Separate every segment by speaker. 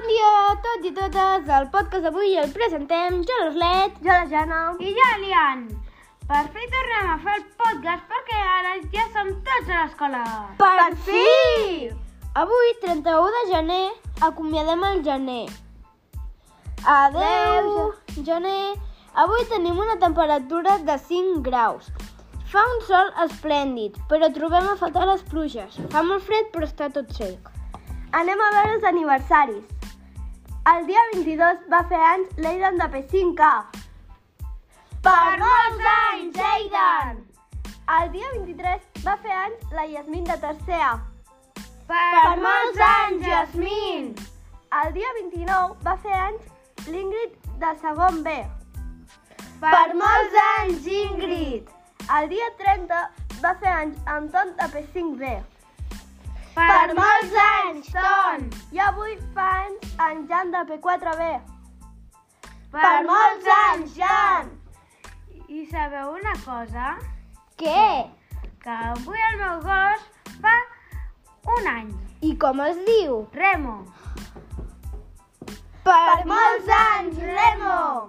Speaker 1: tots i totes del podcast d'avui el presentem jo l'Orlet, jo la Jana
Speaker 2: I jo, Lian, per fi tornem a fer el podcast perquè ara ja som tots a l'escola.
Speaker 1: Per fi! Avui, 31 de gener, acomiadem el gener. Adeu, gener. Avui tenim una temperatura de 5 graus. Fa un sol esplèndid, però trobem a faltar les pluges. Fa molt fred, però està tot sec.
Speaker 3: Anem a veure els aniversaris. El dia 22 va fer anys l'Eidan de P5K. Per molts anys, Eidan! El dia 23 va fer anys la Yasmin de tercera.
Speaker 2: Per,
Speaker 3: Yasmin! El dia 29 va fer anys l'Ingrid de segon B. molts anys, Ingrid! El dia 30 va fer anys Anton de P5B. anys, Ton! I avui fa anys en Jan de P4B. Jan!
Speaker 2: I sabeu una cosa?
Speaker 1: Què?
Speaker 2: Que avui el meu gos fa un any.
Speaker 1: I com es diu?
Speaker 2: Remo.
Speaker 1: Per
Speaker 3: anys, Remo!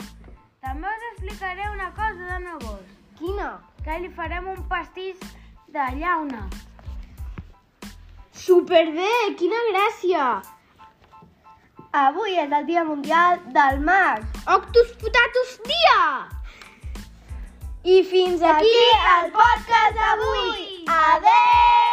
Speaker 2: També us explicaré una cosa del meu gos.
Speaker 1: Quina?
Speaker 2: Que li farem un pastís de llauna.
Speaker 1: Superbé, quina gràcia!
Speaker 3: Avui és el Dia Mundial del Mar.
Speaker 1: Octus Potatus Dia! I fins aquí,
Speaker 3: podcast d'avui. Adeu!